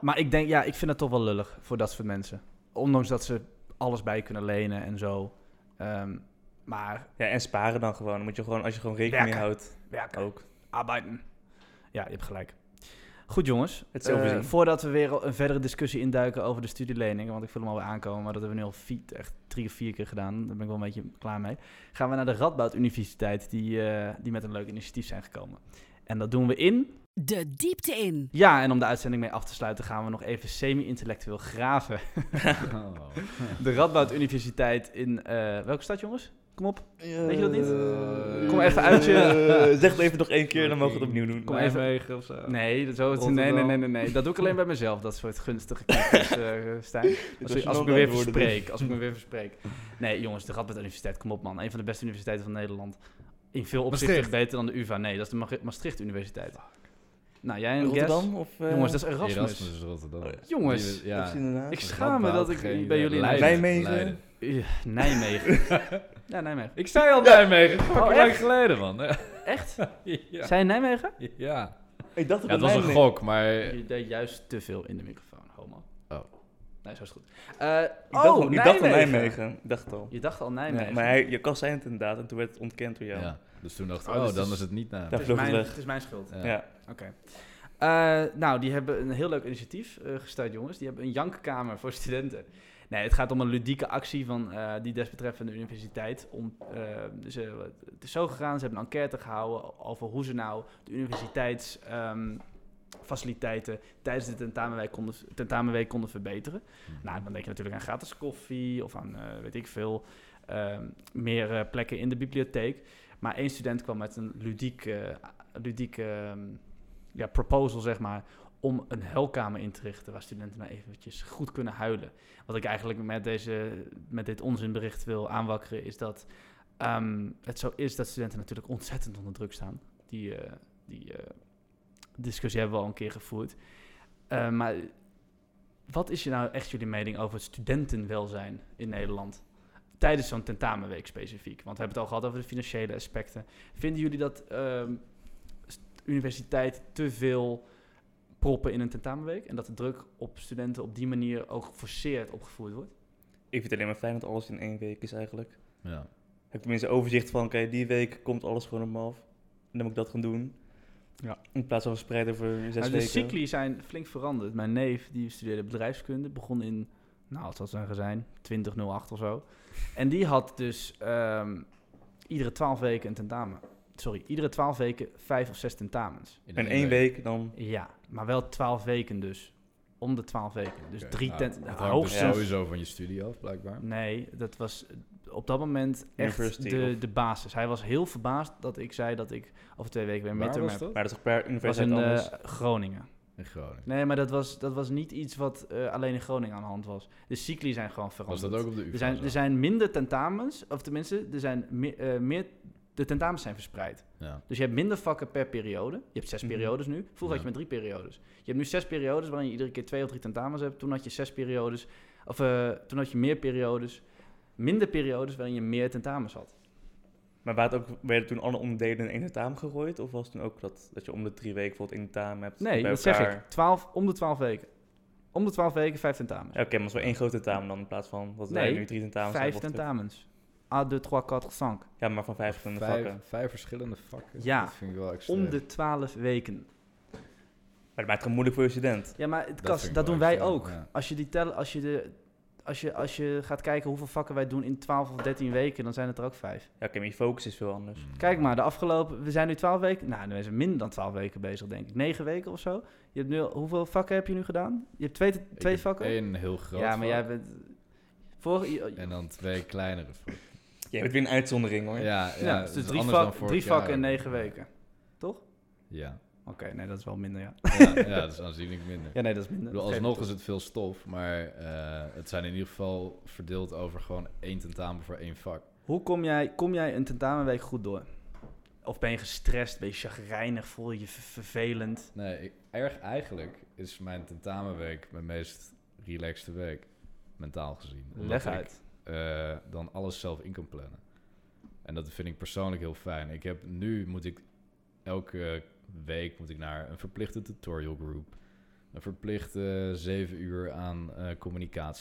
Maar ik denk, ja, ik vind dat toch wel lullig voor dat soort mensen. Ondanks dat ze alles bij kunnen lenen en zo. Ehm, maar Ja, en sparen dan gewoon. Dan moet je gewoon, als je gewoon rekening mee Werken. houdt, werken, ook. arbeiden. Ja, je hebt gelijk. Goed jongens. Het is overzien. Eh, voordat we weer een verdere discussie induiken over de studieleningen, want ik voel hem alweer aankomen, maar dat hebben we nu al vier, echt drie of vier keer gedaan. Daar ben ik wel een beetje klaar mee. Gaan we naar de Radboud Universiteit, die, eh, die met een leuk initiatief zijn gekomen. En dat doen we in De diepte in. Ja, en om de uitzending mee af te sluiten gaan we nog even semi-intellectueel [LAUGHS] graven. Oh. De Radboud Universiteit in eh, welke stad, jongens? Kom op. Weet je dat niet? Eh, Kom even uit je- Eh, zeg het even nog één keer, dan mogen we het opnieuw doen. Kom even- Nijmegen of zo. Nee, dat zo, nee, Rotterdam. nee, nee, nee, nee. Dat doe ik alleen bij mezelf, dat soort gunstige knippers, eh [LAUGHS] Stijn. Als, ik- als ik me weer dus. verspreek, als ik me weer verspreek. Nee, jongens, de Radboud Universiteit, kom op man. Een van de beste universiteiten van Nederland. In veel opzichten Maastricht. beter dan de UvA. Nee, dat is de Ma- Maastricht Universiteit. Nou, jij een guess? Rotterdam? Of, eh, Jongens, dat is Erasmus. Erasmus. is Rotterdam. Oh, Jongens, Die- ja. of inderdaad. Ik schaam me dat ik Radboud, bij jullie... eh, Leiden, Nijmegen. Leiden. Eh, Nijmegen. [LAUGHS] ja, Nijmegen. Ik zei al Nijmegen. Fucking Oh, lang echt? geleden, man. Echt? ja. Zijn Nijmegen? ja. Ik dacht dat het was een Nijmegen- gok, maar... Je deed juist te veel in de microfoon, homo. Oh. Nee, zo is goed. Eh, Ik dacht, oh, al- ik dacht al Nijmegen. Ik dacht het al. Je dacht al Nijmegen. Ja, maar hij, je kan zijn het inderdaad, en toen werd het ontkend door jou. Ja. Dus toen dacht ik, Oh, oh, dus het dan is- is het niet naar. Ja. het, is mijn, vloog het weg. het is mijn schuld. Ja. Ja. Oké. Eh, nou, die hebben een heel leuk initiatief eh, gestart, jongens. Die hebben een jankkamer voor studenten. Nee, het gaat om een ludieke actie van eh, die desbetreffende universiteit. Om, eh, ze, het is zo gegaan, ze hebben een enquête gehouden over hoe ze nou de universiteitsfaciliteiten tijdens de tentamenweek konden, tentamenweek konden verbeteren. Nou, dan denk je natuurlijk aan gratis koffie of aan, eh, weet ik veel, ehm, meer eh, plekken in de bibliotheek. Maar één student kwam met een ludiek, eh, ludiek ehm, ja, proposal, zeg maar, om een huilkamer in te richten waar studenten nou eventjes goed kunnen huilen. Wat ik eigenlijk met, deze, met dit onzinbericht wil aanwakkeren is dat ehm, het zo is dat studenten natuurlijk ontzettend onder druk staan. Die, eh, die eh, discussie hebben we al een keer gevoerd. Eh, maar wat is je nou echt jullie mening over het studentenwelzijn in Nederland? Tijdens zo'n tentamenweek specifiek. Want we hebben het al gehad over de financiële aspecten. Vinden jullie dat ehm, st- universiteit te veel proppen in een tentamenweek? En dat de druk op studenten op die manier ook geforceerd opgevoerd wordt? Ik vind het alleen maar fijn dat alles in één week is eigenlijk. Ja. Heb ik tenminste overzicht van, oké, die week komt alles gewoon om half. En dan moet ik dat gaan doen. Ja. In plaats van verspreid over zes Nou, de weken. cycli zijn flink veranderd. Mijn neef, die studeerde bedrijfskunde, begon in, nou, wat zal het zijn zijn, 2008 of zo. En die had dus ehm, iedere twaalf weken een tentamen. Sorry, iedere twaalf weken vijf of zes tentamens. In En één week dan... Ja, maar wel twaalf weken dus. Om de twaalf weken. Dus Oké, drie nou, tent... dat hangt hoogstens... Dus sowieso van je studie af, blijkbaar. Nee, dat was op dat moment echt University de, of- de basis. Hij was heel verbaasd dat ik zei dat ik over twee weken weer een Waar midterm was heb. dat? Maar dat is toch per was universiteit in eh, anders? Groningen. In Groningen. Nee, maar dat was, dat was niet iets wat eh, alleen in Groningen aan de hand was. De cycli zijn gewoon was veranderd. dat ook op de UvA? er, zijn, zo? er zijn minder tentamens, of tenminste, er zijn me- eh, meer, de tentamens zijn verspreid. Ja. Dus je hebt minder vakken per periode. Je hebt zes Mhm. periodes nu. Vroeger had Ja. je maar drie periodes. Je hebt nu zes periodes waarin je iedere keer twee of drie tentamens hebt. Toen had je zes periodes, of eh, toen had je meer periodes. Minder periodes waarin je meer tentamens had. Maar waar het ook, werden toen alle onderdelen in één tentamen gegooid? Of was het toen ook dat, dat je om de drie weken bijvoorbeeld één tentamen hebt Dus Nee, bij dat elkaar? zeg ik. Twaalf, om de twaalf weken. Om de twaalf weken vijf tentamens. Ja, Oké, maar het is wel één grote tentamen dan in plaats van... Wat wij Nee, nu drie tentamens vijf hebben. of- tentamens. A, 2, 3, 4, 5. Ja, maar van vijf verschillende vakken. Vijf, vijf verschillende vakken. Ja, Dat vind ik wel extreem. Om de 12 weken. Maar dat maakt het gewoon moeilijk voor je student. Ja, maar het Dat Kas, vind dat, ik doen wel wij extreem, ook. ja. Als je die tellen, als je de. Als je, als je gaat kijken hoeveel vakken wij doen in 12 of 13 weken, dan zijn het er ook vijf. Ja, oké, maar je focus is veel anders. Mm. Kijk maar, de afgelopen. We zijn nu 12 weken. Nou, nu zijn we minder dan 12 weken bezig, denk ik. 9 weken of zo. Je hebt nu, hoeveel vakken heb je nu gedaan? Je hebt twee, te- Ik twee heb vakken? één heel groot ja, maar jij vak bent. Vorig, je- nou, En dan twee kleinere vakken. Jij bent weer een uitzondering hoor. Ja, ja, ja, dus dat is drie, anders vak- dan vorig drie vakken jaar. in 9 weken. [LAUGHS] Ja. Oké, nee, dat is wel minder, ja. Ja, ja, dat is aanzienlijk minder. Ja, nee, dat is minder. Ik bedoel, alsnog is het veel stof, maar eh, het zijn in ieder geval verdeeld over gewoon één tentamen voor één vak. Hoe kom jij, kom jij een tentamenweek goed door? Of ben je gestrest? Ben je chagrijnig? Voel je je ver- vervelend? Nee, ik- erg eigenlijk is mijn tentamenweek mijn meest relaxte week, mentaal gezien. Omdat Leg ik, uit. eh, dan alles zelf in kan plannen. En dat vind ik persoonlijk heel fijn. Ik heb nu moet ik elke week moet ik naar een verplichte tutorial group. Een verplichte zeven uur aan eh,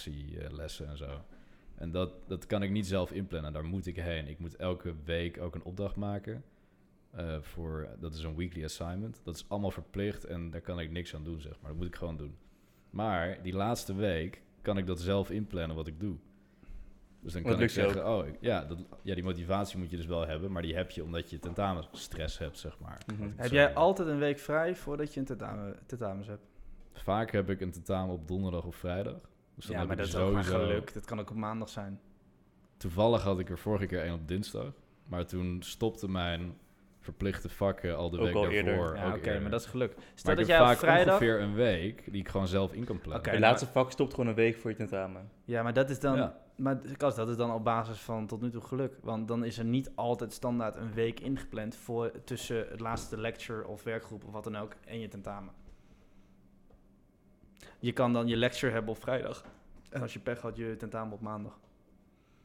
communicatielessen en zo. En dat, dat kan ik niet zelf inplannen. Daar moet ik heen. Ik moet elke week ook een opdracht maken. eh, voor, dat is een weekly assignment. Dat is allemaal verplicht en daar kan ik niks aan doen, zeg maar. Dat moet ik gewoon doen. Maar die laatste week kan ik dat zelf inplannen wat ik doe. Dus dan Dat kan ik lukt je zeggen, oh ik- ja, dat, ja, die motivatie moet je dus wel hebben, maar die heb je omdat je tentamenstress hebt, zeg maar. Mhm. Laat ik het Heb zo jij zeggen. altijd een week vrij voordat je een tentamen, tentamens hebt? Vaak heb ik een tentamen op donderdag of vrijdag. Dus dan ja, heb maar ik dat is ook maar sowieso- geluk. Dat kan ook op maandag zijn. Toevallig had ik er vorige keer één op dinsdag. Maar toen stopte mijn verplichte vakken al de Ook week al daarvoor. eerder. ook Ja, oké, eerder. maar dat is geluk. Stel Maar dat ik jij heb op vaak vrijdag... ongeveer een week die ik gewoon zelf in kan plannen. Oké. je maar- laatste vak stopt gewoon een week voor je tentamen. Ja, maar dat is dan... Ja. Maar Kas, dat is dan op basis van tot nu toe geluk. Want dan is er niet altijd standaard een week ingepland... Voor, tussen het laatste lecture of werkgroep of wat dan ook en je tentamen. Je kan dan je lecture hebben op vrijdag. En als je pech had, je tentamen op maandag.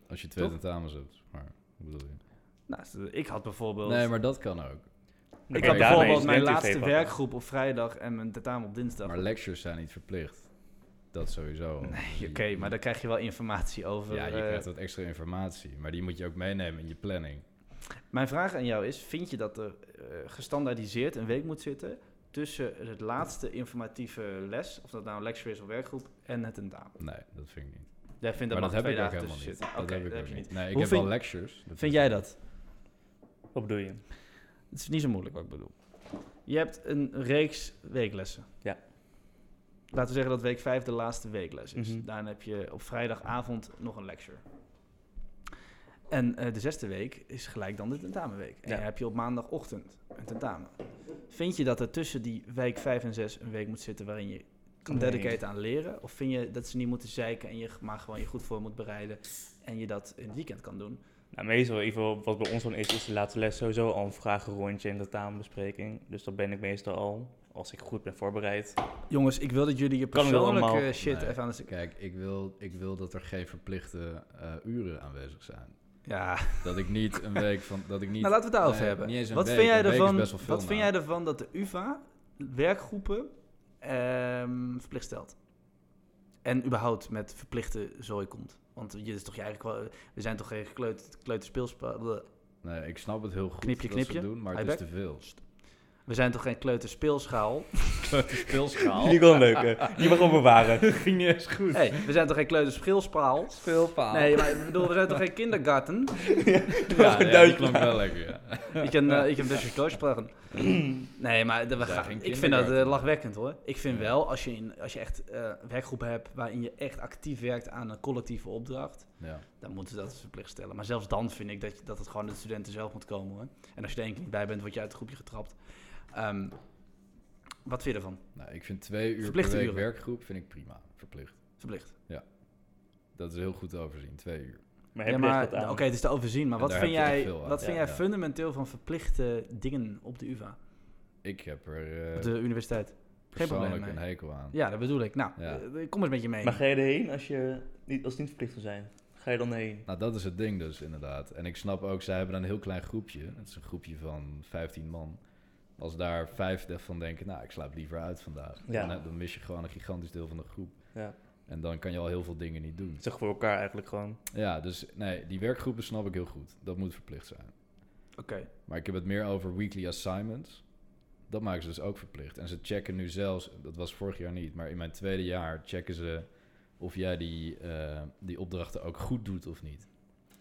Als je twee Toch? tentamens hebt. Maar, hoe bedoel je? Nou, ik had bijvoorbeeld... Nee, maar dat kan ook. ik kan had daarmee bijvoorbeeld is mijn het laatste werkgroep op vrijdag en mijn tentamen op dinsdag. Maar lectures zijn niet verplicht. Dat sowieso. Dus je- Oké, maar daar krijg je wel informatie over. Ja, je eh, krijgt wat extra informatie. Maar die moet je ook meenemen in je planning. Mijn vraag aan jou is: vind je dat er eh, gestandaardiseerd een week moet zitten tussen het laatste informatieve les, of dat nou een lecture is of werkgroep, en het tentamen? Nee, dat vind ik niet. Jij vindt dat maar dat heb mag twee ik ook dagen helemaal tussen niet. zitten. dat Oké, heb ik dat ook heb je niet. Nee, ik Hoe heb vind- wel lectures. dat Vind is- jij dat? Wat bedoel je? Het is niet zo moeilijk wat ik bedoel. Je hebt een reeks weeklessen. Ja. Laten we zeggen dat week 5 de laatste weekles is. Mhm. Daarna heb je op vrijdagavond nog een lecture. En eh, de zesde week is gelijk dan de tentamenweek. En Ja. dan heb je op maandagochtend een tentamen. Vind je dat er tussen die week 5 en 6 een week moet zitten waarin je kan Nee. dedicaten aan leren? Of vind je dat ze niet moeten zeiken en je maar gewoon je goed voor moet bereiden en je dat in het weekend kan doen? Nou, meestal, in ieder geval, wat bij ons dan is, is de laatste les sowieso al een vragenrondje en tentamenbespreking. Dus dan ben ik meestal al, als ik goed ben [LAUGHS] voorbereid. Jongens, ik wil dat jullie je Kan ik dat allemaal? persoonlijke shit Nee. even aan de stuk... Kijk, ik wil, ik wil dat er geen verplichte eh, uren aanwezig zijn. Ja, Dat ik niet een week van. Dat ik niet, nou, laten we het daarover nee, hebben. niet eens een Wat, week. vind jij, Een week is ervan, best wel veel, wat vind jij nou. ervan dat de UvA werkgroepen ehm, verplicht stelt? En überhaupt met verplichte zooi komt? Want je is toch je eigen, kwa- we zijn toch geen gekleut- kleuterspeelspel... bleh. Nee, ik snap het heel goed. Knipje, dat ze het knipje. [LAUGHS] doen, maar het is Eyeback. te veel. We zijn toch geen [LAUGHS] kleuterspeelschaal? Speelschaal. Die kon leuk, hè? Die mag gewoon [LAUGHS] bewaren. ging niet eens goed. Hey, we zijn toch geen kleuterspeelspaal? Speelpaal. Nee, maar ik bedoel, we zijn toch geen kindergarten? ja, een ja, die duit klonk wel lekker, ja. [LAUGHS] Ik kan, eh, ik heb dus gesproken. [CLEARS THROAT] Nee, maar de- we Zij gaan- ging ik vind dat eh, kindergarten. lachwekkend hoor. Ik vind Ja. wel, als je, in, als je echt eh werkgroepen hebt waarin je echt actief werkt aan een collectieve opdracht, ja. dan moeten ze dat verplicht stellen. Maar zelfs dan vind ik dat, je- dat het gewoon de studenten zelf moet komen hoor. En als je er één keer niet bij bent, word je uit het groepje getrapt. Ehm, wat vind je ervan? Nou, ik vind twee uur Verplichte per week uren. werkgroep vind ik prima. Verplicht. Verplicht. Dat is heel goed te overzien, twee uur. Maar Ja, heb je maar echt wat aan? Nou, oké, het is te overzien. Maar En wat daar vind heb je jij, toch veel aan, wat vind ja, jij ja. fundamenteel van verplichte dingen op de UvA, Ik heb er op eh de universiteit? persoonlijk probleem mee. een hekel aan. Ja, dat bedoel ik. Nou, Ja. eh, kom eens met je mee. Maar ga je erheen als, je niet, als het niet verplicht zou zijn? Ga je dan heen? Nou, dat is het ding dus, inderdaad. En ik snap ook, zij hebben een heel klein groepje. Het is een groepje van 15 man. Als daar vijf de- van denken, nou, ik slaap liever uit vandaag. Ja. Dan, dan mis je gewoon een gigantisch deel van de groep. Ja. En dan kan je al heel veel dingen niet doen. Zeg voor elkaar eigenlijk gewoon. Ja, dus nee, die werkgroepen snap ik heel goed. Dat moet verplicht zijn. Oké. Maar ik heb het meer over weekly assignments. Dat maken ze dus ook verplicht. En ze checken nu zelfs, dat was vorig jaar niet, maar in mijn tweede jaar checken ze of jij die, eh, die opdrachten ook goed doet of niet.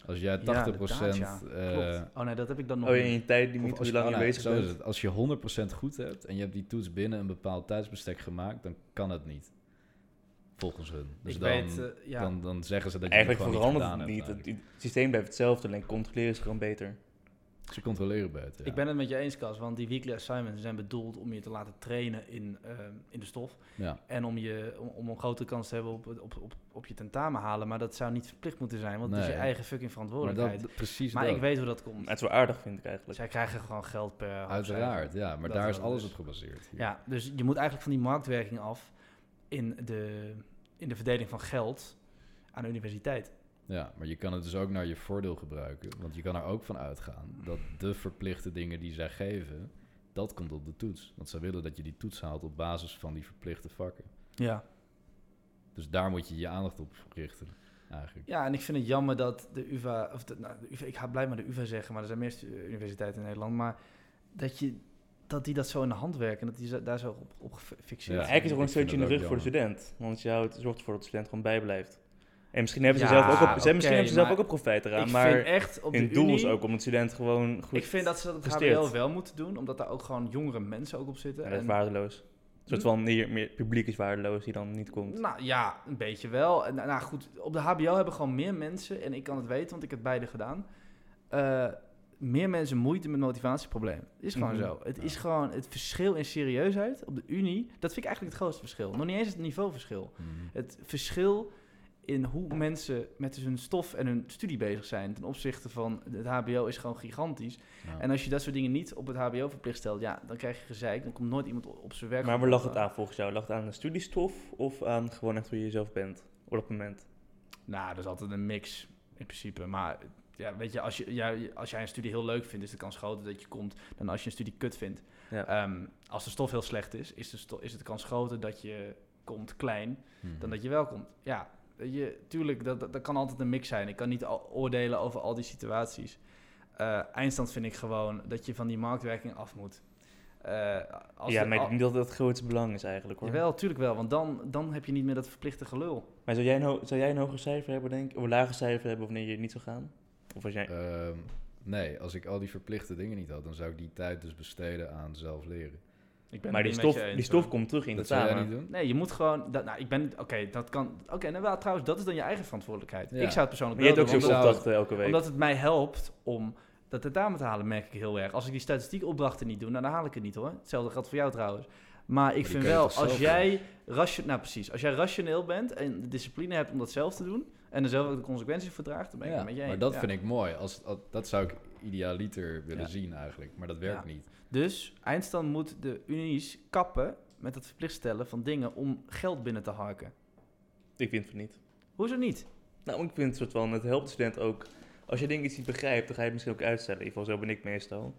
Als jij 80% Ja, inderdaad, ja. eh, Klopt. Oh nee, dat heb ik dan nog oh, niet. in je tijdlimiet, Of als hoe je, lang oh, je nou, bezig zo is bent. het. Als je 100% goed hebt en je hebt die toets binnen een bepaald tijdsbestek gemaakt, dan kan het niet. Volgens hun. Dus ik dan, weet, eh, ja. dan, dan zeggen ze dat je het Eigenlijk gewoon verandert niet het gedaan niet. hebt. Het, het systeem blijft hetzelfde, alleen controleren is gewoon beter. eigenlijk. Ze controleren beter. Ja. Ik ben het met je eens, Cas, want die weekly assignments zijn bedoeld om je te laten trainen in, ehm, in de stof. ja. En om, je, om, om een grotere kans te hebben op, het- op, op, op je tentamen halen. Maar dat zou niet verplicht moeten zijn, want het is Nee. je eigen fucking Maar dat, verantwoordelijkheid. Maar, dat- precies ik dat. weet hoe dat Maar komt. het is wel aardig, vind ik eigenlijk. Zij krijgen gewoon geld per hoop Uiteraard, ja. Maar Dat daar is wel alles dus. op gebaseerd. hier. Ja, dus je moet eigenlijk van die marktwerking af in de, in de verdeling van geld aan de universiteit. ja. Maar je kan het dus ook naar je voordeel gebruiken. Want je kan er ook van uitgaan dat de verplichte dingen die zij geven, dat komt op de toets. Want zij willen dat je die toets haalt op basis van die verplichte vakken. Ja. Dus daar moet je je aandacht op richten, eigenlijk. Ja, en ik vind het jammer dat de UvA, of de, nou, de UvA, ik ga blij maar de UvA zeggen, maar er zijn meer stu- universiteiten in Nederland, maar dat, je, dat die dat zo in de hand werken, dat die zo- daar zo op, op gefixeerd Ja. zijn. Eigenlijk is het Ik gewoon een vind steuntje in de dat rug ook voor de student. Want je houdt, zorgt ervoor dat de student gewoon bijblijft. En misschien hebben ze, Ja, zelf, ook op, ze- oké, misschien hebben ze zelf maar ook op profijt eraan. ik Maar vind echt op de hun doel unie, is ook om de student gewoon goed... ik vind dat ze dat op het presteert. HBO wel moeten doen, omdat daar ook gewoon jongere mensen ook op zitten. Ja, dat is En- waardeloos. Een soort Hm? van meer, meer publiek is waardeloos die dan niet komt. Nou ja, een beetje wel. En, nou, nou goed, op de HBO hebben gewoon meer mensen, en ik kan het weten, want ik heb beide gedaan. eh, meer mensen moeite met motivatieproblemen. Is gewoon Mhm. zo. Het Ja. is gewoon het verschil in serieusheid op de Unie. Dat vind ik eigenlijk het grootste verschil. Nog niet eens het niveauverschil. Mhm. Het verschil in hoe mensen met dus hun stof en hun studie bezig zijn ten opzichte van het HBO is gewoon gigantisch. Ja. En als je dat soort dingen niet op het HBO verplicht stelt, ja, dan krijg je gezeik. Dan komt nooit iemand o- op zijn werk. Maar waar lag het aan volgens jou? Lag het aan de studiestof of aan gewoon echt hoe je jezelf bent op dat moment? Nou, dat is altijd een mix in principe. Maar ja, weet je, als, je, ja, als jij een studie heel leuk vindt, is de kans groter dat je komt dan als je een studie kut vindt. Ja. Ehm, als de stof heel slecht is, is de, sto- is de kans groter dat je komt klein Mhm. eh, dan dat je wel komt. Ja, weet je, tuurlijk, dat, dat, dat kan altijd een mix zijn. Ik kan niet al- oordelen over al die situaties. Eh, eindstand vind ik gewoon dat je van die marktwerking af moet. Eh, als ja, de- maar ik al- denk niet dat dat het grootste belang is eigenlijk hoor. Jawel, tuurlijk wel, want dan, dan heb je niet meer dat verplichte gelul. Maar zou jij, een ho- zou jij een hoger cijfer hebben, denk ik? Of een lager cijfer hebben wanneer je niet zou gaan? Of als jij... Ehm, nee, als ik al die verplichte dingen niet had, dan zou ik die tijd dus besteden aan zelf leren. Ik ben maar het die niet met stof, je eens, die hoor. stof komt terug in dat de zou jij taal. niet doen? Nee, je moet gewoon. Dat, nou, ik ben. Oké, dat kan. Oké, nou wel, trouwens, dat is dan je eigen verantwoordelijkheid. Ja. Ik zou het persoonlijk Maar je hebt ook wel want zo'n doen, dat- opdrachten elke week. omdat, omdat het mij helpt om dat tentamen te halen, merk ik heel erg. Als ik die statistiekopdrachten niet doe, nou, dan haal ik het niet hoor. Hetzelfde geldt voor jou trouwens. Maar ik die vind kun je wel, toch zelf als jij, ratio- nou, precies, als jij rationeel bent en de discipline hebt om dat zelf te doen, en er zelf ook de consequenties voor draagt, dan ben ik Ja, het met je maar eens. dat Ja. vind ik mooi. Als, als- dat zou ik idealiter willen Ja. zien eigenlijk, maar dat werkt Ja. niet. Dus eindstand moet de unies kappen met het verplicht stellen van dingen om geld binnen te harken. Ik vind het niet. Hoezo niet? Nou, ik vind het soort van, het helpt de student ook. Als je dingen iets niet begrijpt, dan ga je het misschien ook uitstellen. In ieder geval, zo ben ik meestal.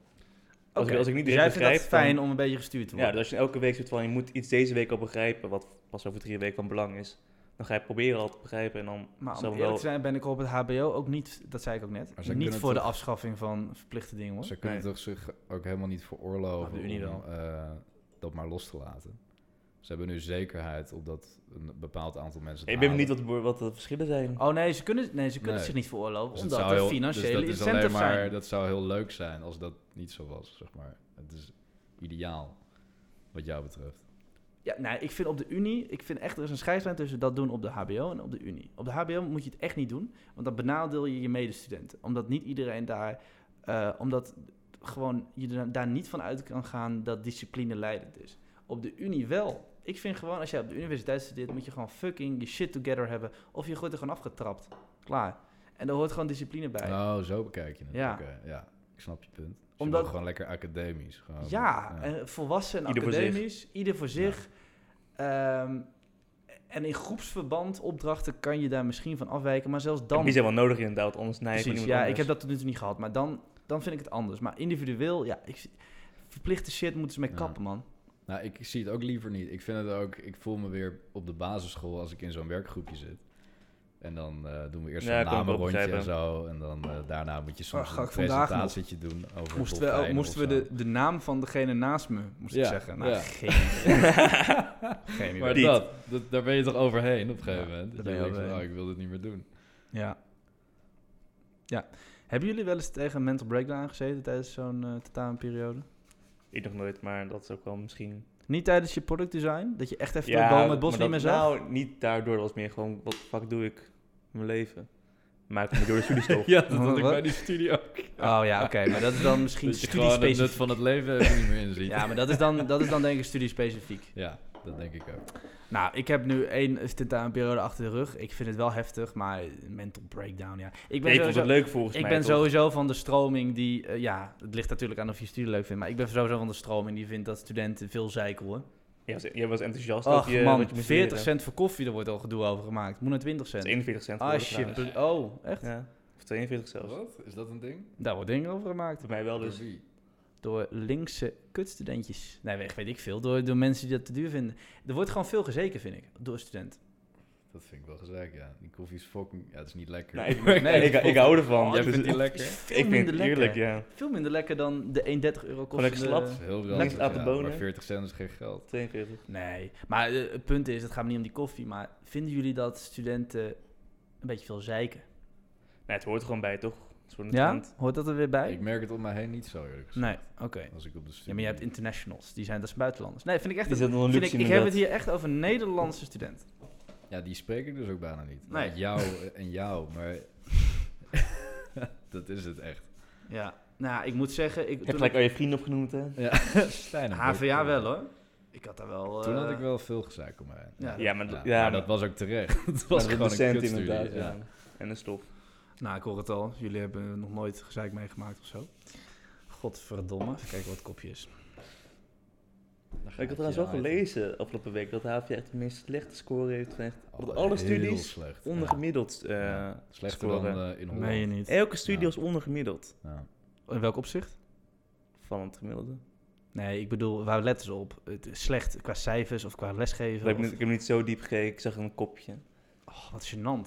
Als, Oké, ik, als ik niet direct dus jij vindt begrijp, het fijn dan- om een beetje gestuurd te Ja, worden? dus als je elke week soort van, je moet iets deze week al begrijpen, wat pas over drie weken van belang is. dan ga je proberen al te begrijpen. En dan Maar om zal eerlijk te zijn ben ik op het HBO ook niet, dat zei ik ook Maar net, zij niet kunnen voor de toch- afschaffing van verplichte dingen hoor. Ze kunnen Nee. toch zich ook helemaal niet veroorloven Nou, de Unie om wel. eh, dat maar los te laten. Ze hebben nu zekerheid op dat een bepaald aantal mensen. ik ben benieuwd wat, de boer- wat de verschillen zijn. Oh nee, ze kunnen, nee, ze kunnen Nee. zich niet veroorloven, Dus het omdat zou er heel- dus financiële dat is alleen incentives maar, zijn. Dat zou heel leuk zijn als dat niet zo was, zeg maar. Het is ideaal, wat jou betreft. Ja, nee, ik vind op de Unie, ik vind echt, er is een scheidslijn tussen dat doen op de HBO en op de Unie. Op de HBO moet je het echt niet doen, want dan benadeel je je medestudenten. Omdat niet iedereen daar, eh, omdat gewoon je er daar niet van uit kan gaan dat discipline leidend is. Op de Unie wel. Ik vind gewoon, als jij op de universiteit studeert, moet je gewoon fucking je shit together hebben. Of je wordt er gewoon afgetrapt. Klaar. En daar hoort gewoon discipline bij. Oh, zo bekijk je het. Ja. Oké, ja, ik snap je punt. Dus je Omdat- wil gewoon lekker academisch. Gewoon, Ja, en volwassen en Oh, Ieder voor zich. academisch, ieder voor zich. Ehm, en in groepsverband opdrachten kan je daar misschien van afwijken, maar zelfs Dan... dan. Die zijn wel nodig inderdaad, anders nee, precies, ja, ik heb dat tot nu toe niet gehad, maar dan, dan vind ik het anders. Maar individueel, ja, ik, verplichte shit moeten ze mee Ja. kappen, man. Nou, ik zie het ook liever niet. Ik vind het ook, ik voel me weer op de basisschool als ik in zo'n werkgroepje zit. En dan eh, doen we eerst Ja, een kan ik ook namenrondje en begrijpen. zo. En dan eh, daarna moet je Oh, soms ga een ik vandaag presentatietje doen over Moesten we, dolfijnen moesten we of zo. de, de naam van degene naast me, moest Ja, ik zeggen. Nou, ja. geen idee. [LAUGHS] geen Maar idee. Niet. dat, [LAUGHS] dat- daar ben je toch overheen op een gegeven Ja, moment. daar Dat ben je je denkt van, overheen. nou, ik wil dit niet meer doen. Ja. ja. Hebben jullie wel eens tegen een mental breakdown gezeten tijdens zo'n eh tentamenperiode? [LAUGHS] Ik nog nooit, maar dat is ook wel misschien... Niet tijdens je product design? Dat je echt even de boom het bos maar niet meer dat- zag? Nou, niet daardoor. Dat was meer gewoon, wat de fuck doe ik in mijn leven? Maar ik kom niet door de studies toch? Ja, dat had ik Wat? bij die studie ook. nou, Oh ja, oké. maar dat is [LAUGHS] dan misschien Dat je gewoon het nut studiespecifiek. van het leven even niet meer inziet. [LAUGHS] Ja, maar dat is, dan, dat is dan denk ik studiespecifiek. Ja, dat denk ik ook. Nou, ik heb nu één tentamenperiode achter de rug. Ik vind het wel heftig, maar mental breakdown, ja. Ik Nee, ben ik vond sowieso, het leuk volgens ik mij. ben toch? sowieso van de stroming die... eh, ja, het ligt natuurlijk aan of je studie leuk vindt. Maar ik ben sowieso van de stroming die vindt dat studenten veel zeiken, hoor. Jij was, jij was enthousiast. Ach dat je, man, dat je moest 40 leren. cent voor koffie, er wordt al gedoe over gemaakt. Moet naar 20 Dat cent. is 41 cent. Ah geworden shit. trouwens. Oh, echt? Ja, of 42 zelfs. Wat? Is dat een ding? Daar wordt dingen over gemaakt. Voor mij wel dus. door linkse kutstudentjes. Nee, weet, weet ik veel. Door, door mensen die dat te duur vinden. Er wordt gewoon veel gezeken, vind ik, door studenten. Dat vind ik wel gezegd, ja. Die koffie is fucking... Ja, het is niet lekker. Nou, [LAUGHS] ik, [LAUGHS] nee, ik, ik, vond- hou ervan. Oh, Jij [LAUGHS] Ja, dus- vindt die lekker? Veel ik vind minder het lekker. heerlijk, ja. Veel minder lekker dan de 1,30 euro Gewoon lekker Dat kostende... slap. is heel Lekker relatief, uit de ja, bonen. Maar 40 cent is geen geld. 42. Nee, maar eh, het punt is, het gaat me niet om die koffie. Maar vinden jullie dat studenten een beetje veel zeiken? Nee, het hoort er gewoon bij, toch? Het is gewoon een Ja? trend. Hoort dat er weer bij? Ik merk het om mij heen niet zo, eerlijk gezegd. Nee, oké. Als ik op de studie... Ja, maar je hebt internationals. Die zijn, dat zijn buitenlanders. Nee, vind ik echt... Die zitten wel een vind ik, luxe ik heb het inderdaad. hier echt over Nederlandse studenten. Ja, die spreek ik dus ook bijna niet. Nee. Ja, jou en jou, maar... [LAUGHS] dat is het echt. Ja. Nou, ik moet zeggen... Ik, Je hebt toen gelijk ik- al je vrienden opgenoemd, hè? [LAUGHS] Ja, Stijn en HVA Bert, wel, hoor. Ik had daar wel... Toen had eh, ik wel veel gezeik om mij heen. Ja. Ja, maar, Ja, d- ja, maar dat was ook terecht. [LAUGHS] Het was maar gewoon dat is een een cent kutstudie. inderdaad, ja. ja. En een stof. Nou, ik hoor het al. Jullie hebben nog nooit gezeik meegemaakt of zo. Godverdomme. Even kijken wat kopje is. Dan ga Ik had je trouwens wel aan. gelezen afgelopen week dat HVA echt de meest slechte score heeft. van Echt op Oh, alle heel studies slecht. Ja. ondergemiddeld eh Ja. Slechter dan scoren. eh, in Holland. Meen je niet. Elke studie Ja. was ondergemiddeld Ja. In welk opzicht? van het gemiddelde. Nee, ik bedoel, waar letten ze op? Het is slecht qua cijfers of qua Ik lesgeven. heb, of- niet, ik heb niet zo diep gekeken, ik zag een kopje. Oh, wat gênant. Maar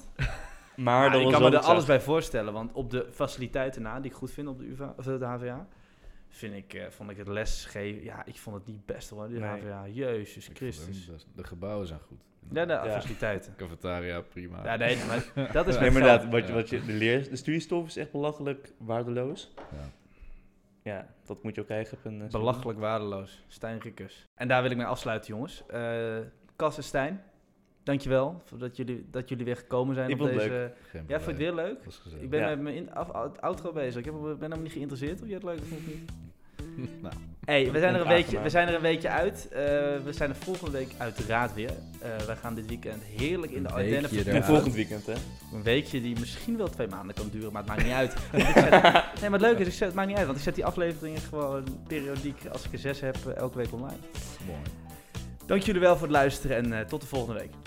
Maar dat ik was kan wel me er wat alles zacht. bij voorstellen. Want op de faciliteiten na, die ik goed vind op de, UvA, of de HVA... Vind ik, eh, vond ik het lesgeven... Ja, ik vond het niet best hoor, de Nee. HVA. Jezus Ik vond het Christus. niet best. De gebouwen zijn goed. Ja, de Ja. faciliteiten. Cafetaria, prima. Ja, nee, [LAUGHS] maar dat is Nee, maar met geld. inderdaad, wat, je- Ja. wat je, de, leer, de studiestof is echt belachelijk waardeloos. Ja. Ja, dat moet je ook krijgen op een... eh, studie. Belachelijk waardeloos. Stijn Rikkers. En daar wil ik mee afsluiten, jongens. Eh Cas en Stijn, dankjewel voor dat jullie, dat jullie weer gekomen zijn. Ik op vond het deze... Geen Ja, vond je het probleem. weer leuk? Dat is gezellig. Ik ben Ja. met mijn in- af- out- outro bezig. Ik heb, ben helemaal niet geïnteresseerd of je het leuk vond of [LAUGHS] niet. Nou. Hey, we zijn, er een Onaangenaam. weekje, we zijn er een weekje uit. Eh, we zijn er volgende week uiteraard weer. Eh wij gaan dit weekend heerlijk in de Een Ardennen weekje En Ja. vertoeven. volgend weekend, hè? Een weekje die misschien wel twee maanden kan duren, maar het maakt niet uit. Want ik [LAUGHS] zet- nee, maar het leuke is, ik zet, het maakt niet uit, want ik zet die afleveringen gewoon periodiek, als ik er zes heb, eh, elke week online. Mooi. Dank jullie wel voor het luisteren en eh, tot de volgende week.